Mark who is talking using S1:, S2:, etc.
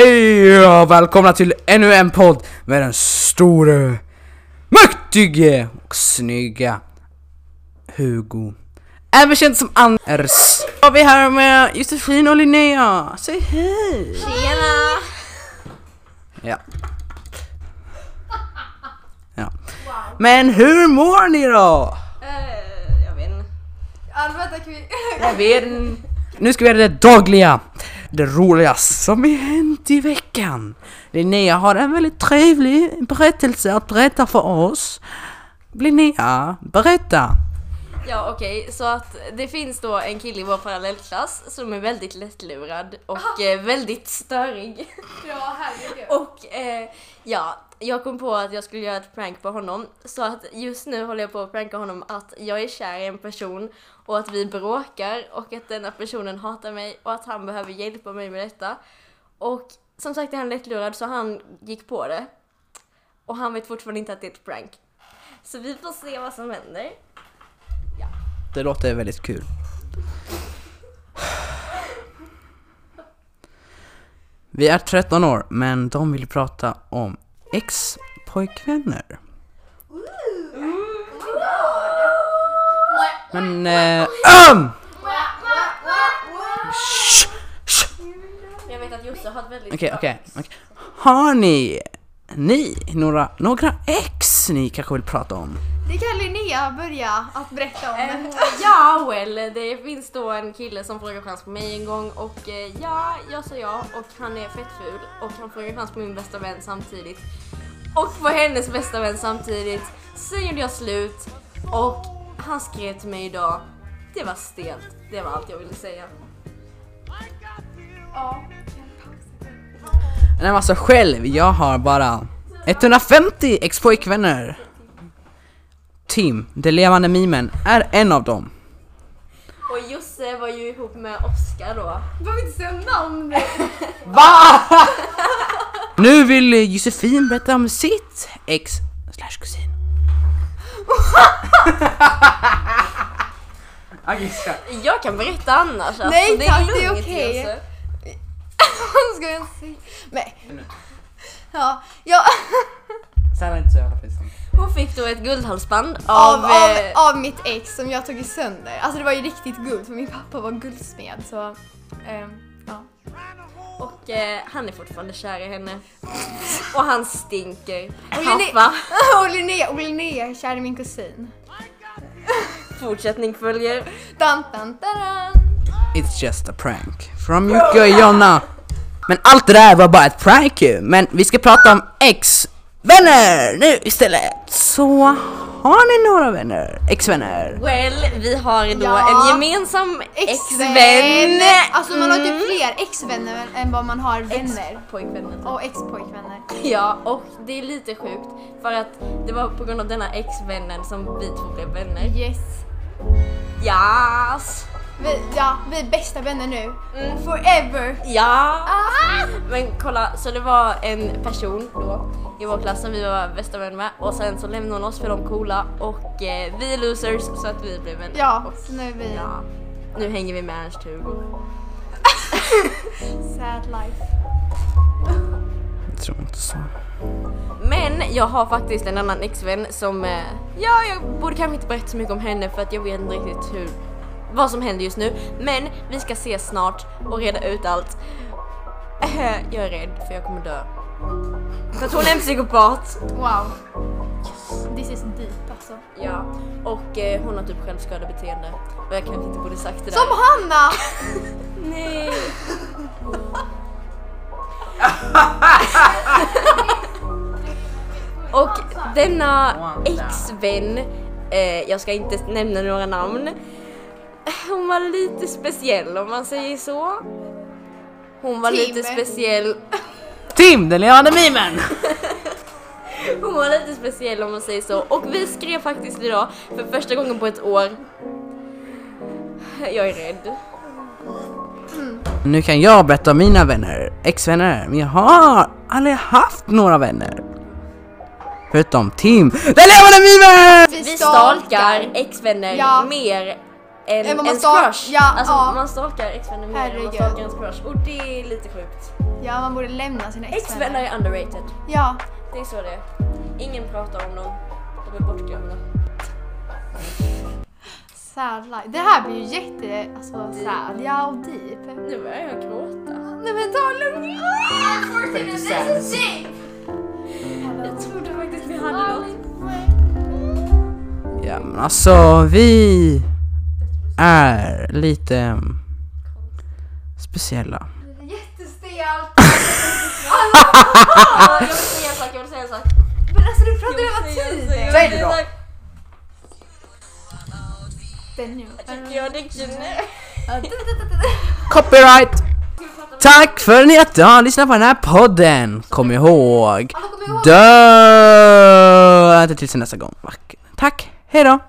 S1: Hej och välkomna till ännu en podd med den store, mäktige och snygga Hugo. Även känd som Anders. Och vi är här med Josefin och Linnea. Säg hej!
S2: Tjena!
S1: Ja. ja. Men hur mår ni då?
S2: jag vet inte. Allmänt är vi...
S1: Jag vet inte. Nu ska vi göra det dagliga. Det roliga som har hänt i veckan. Linnea har en väldigt trevlig berättelse att berätta för oss. Linnea, berätta.
S2: Ja okej, så att det finns då en kille i vår parallellklass som är väldigt lättlurad och eh, väldigt störig.
S3: Ja, herregud.
S2: Och eh, ja, jag kom på att jag skulle göra ett prank på honom. Så att just nu håller jag på att pranka honom att jag är kär i en person och att vi bråkar och att denna personen hatar mig och att han behöver hjälpa mig med detta. Och som sagt är han lättlurad så han gick på det. Och han vet fortfarande inte att det är ett prank. Så vi får se vad som händer.
S1: Det låter väldigt kul. Vi är 13 år, men de vill prata om ex-pojkvänner. Men... Eh, ähm! Shh, shh.
S2: Jag vet att Josse har ett väldigt
S1: Okej, okej. okej. Har ni, ni några, några ex ni kanske vill prata om?
S3: Det kan Linnea börja att berätta om.
S2: Eh, ja, well, det finns då en kille som frågar chans på mig en gång och eh, ja, jag sa ja och han är fett ful och han frågar chans på min bästa vän samtidigt och på hennes bästa vän samtidigt. Sen gjorde jag slut och han skrev till mig idag. Det var stelt. Det var allt jag ville säga.
S3: Ja.
S1: Nej men alltså själv, jag har bara 150 ex-pojkvänner. Tim, den levande mimen, är en av dem.
S2: Och Josse var ju ihop med Oskar då.
S3: Du behöver inte säga namn.
S1: Va? nu vill Josefin berätta om sitt ex slash kusin. Okej, kör.
S2: Jag kan berätta annars. alltså.
S3: Nej,
S2: det
S3: tack,
S2: är,
S3: det är
S2: lugnt,
S3: okej.
S2: Josse.
S3: Vad ska jag säga? Nej. Ja, ja.
S1: Så här var det inte så jävla pinsamt.
S2: Hon fick då ett guldhalsband
S3: Av,
S2: av,
S3: av,
S2: eh,
S3: av mitt ex som jag tog sönder. Alltså det var ju riktigt guld för min pappa var guldsmed så... ehm, ja.
S2: Och eh, han är fortfarande kär i henne. Och han stinker.
S3: Och Linnea,
S2: Pappa.
S3: och Linnea, och Linnea är kär i min kusin.
S2: Fortsättning följer.
S3: Dan, dan, dan.
S1: It's just a prank. From Jocke och Jonna. Men allt det där var bara ett prank ju. Men vi ska prata om ex-vänner nu istället. Så har ni några vänner? Ex-vänner?
S2: Well, vi har då
S3: Ja.
S2: en gemensam ex-vän.
S3: Alltså man har typ fler ex-vänner än vad man har vänner.
S2: Pojkvännen.
S3: Och ex-pojkvänner.
S2: Ja, och det är lite sjukt för att det var på grund av denna ex-vännen som vi två blev vänner.
S3: Yes.
S2: Yes.
S3: Vi, ja, vi är bästa vänner nu. Forever!
S2: Ja.
S3: Mm. Ah!
S2: Men kolla, så det var en person då i vår klass som vi var bästa vänner med och sen så lämnade hon oss för de coola och eh, vi är losers så att vi blev vänner.
S3: Ja,
S2: Och,
S3: så nu är vi
S2: ja. Nu hänger vi med Ernst Hugo.
S3: sad life.
S1: Jag tror inte så.
S2: Men jag har faktiskt en annan exvän som, eh, ja jag borde kanske inte berätta så mycket om henne för att jag vet inte riktigt hur, vad som händer just nu. Men vi ska ses snart och reda ut allt. Eh, jag är rädd för jag kommer dö. För att hon är en psykopat.
S3: Wow. This is deep alltså.
S2: Ja, och eh, hon har typ självskadebeteende. Och jag kanske inte borde sagt det där.
S3: Som Hanna!
S2: Nej! och denna ex-vän, eh, jag ska inte nämna några namn. Hon var lite speciell om man säger så. Hon var lite
S3: Tim.
S2: speciell.
S1: Tim, den levande mimen!
S2: Hon var lite speciell om man säger så. Och vi skrev faktiskt idag för första gången på ett år. Jag är rädd.
S1: Nu kan jag berätta om mina vänner, ex-vänner. Men jag har aldrig haft några vänner. Förutom Tim, den levande mimen!
S2: Vi stalkar ex-vänner
S3: Ja.
S2: mer en,
S3: Eh,
S2: en
S3: man
S2: ens
S3: stalk-
S2: crush.
S3: ja,
S2: alltså
S3: ja.
S2: man stalkar exvänner mer än man
S3: Herregud.
S2: stalkar ens crush och det är lite sjukt.
S3: Ja, man borde lämna sina
S2: Exvänner
S3: exvänner.
S2: är underrated.
S3: Ja,
S2: Det är så det är. Ingen pratar om dem. De är bortglömda.
S3: sad life. Det här blir ju jätte, alltså sad. Ja, och deep.
S2: Nu börjar jag gråta.
S3: Nej men ta det lugnt.
S2: This is deep. Jag trodde faktiskt vi hade något.
S1: Ja men alltså vi är lite mm, speciella.
S3: Jättestelt.
S2: Ja, Jag vill säga en sak, jag vill säga en sak.
S3: Men alltså du pratar
S2: Jag
S3: hela
S2: vill säga en sak, jag vill
S3: tiden.
S2: säga en sak.
S3: Den nu.
S2: Tycker jag det är kul.
S1: Copyright! Tack för att ni att har lyssnat på den här podden! Kom ihåg,
S3: Alla kommer Alltså, ihåg.
S1: dö inte tills nästa gång. Tack, hejdå!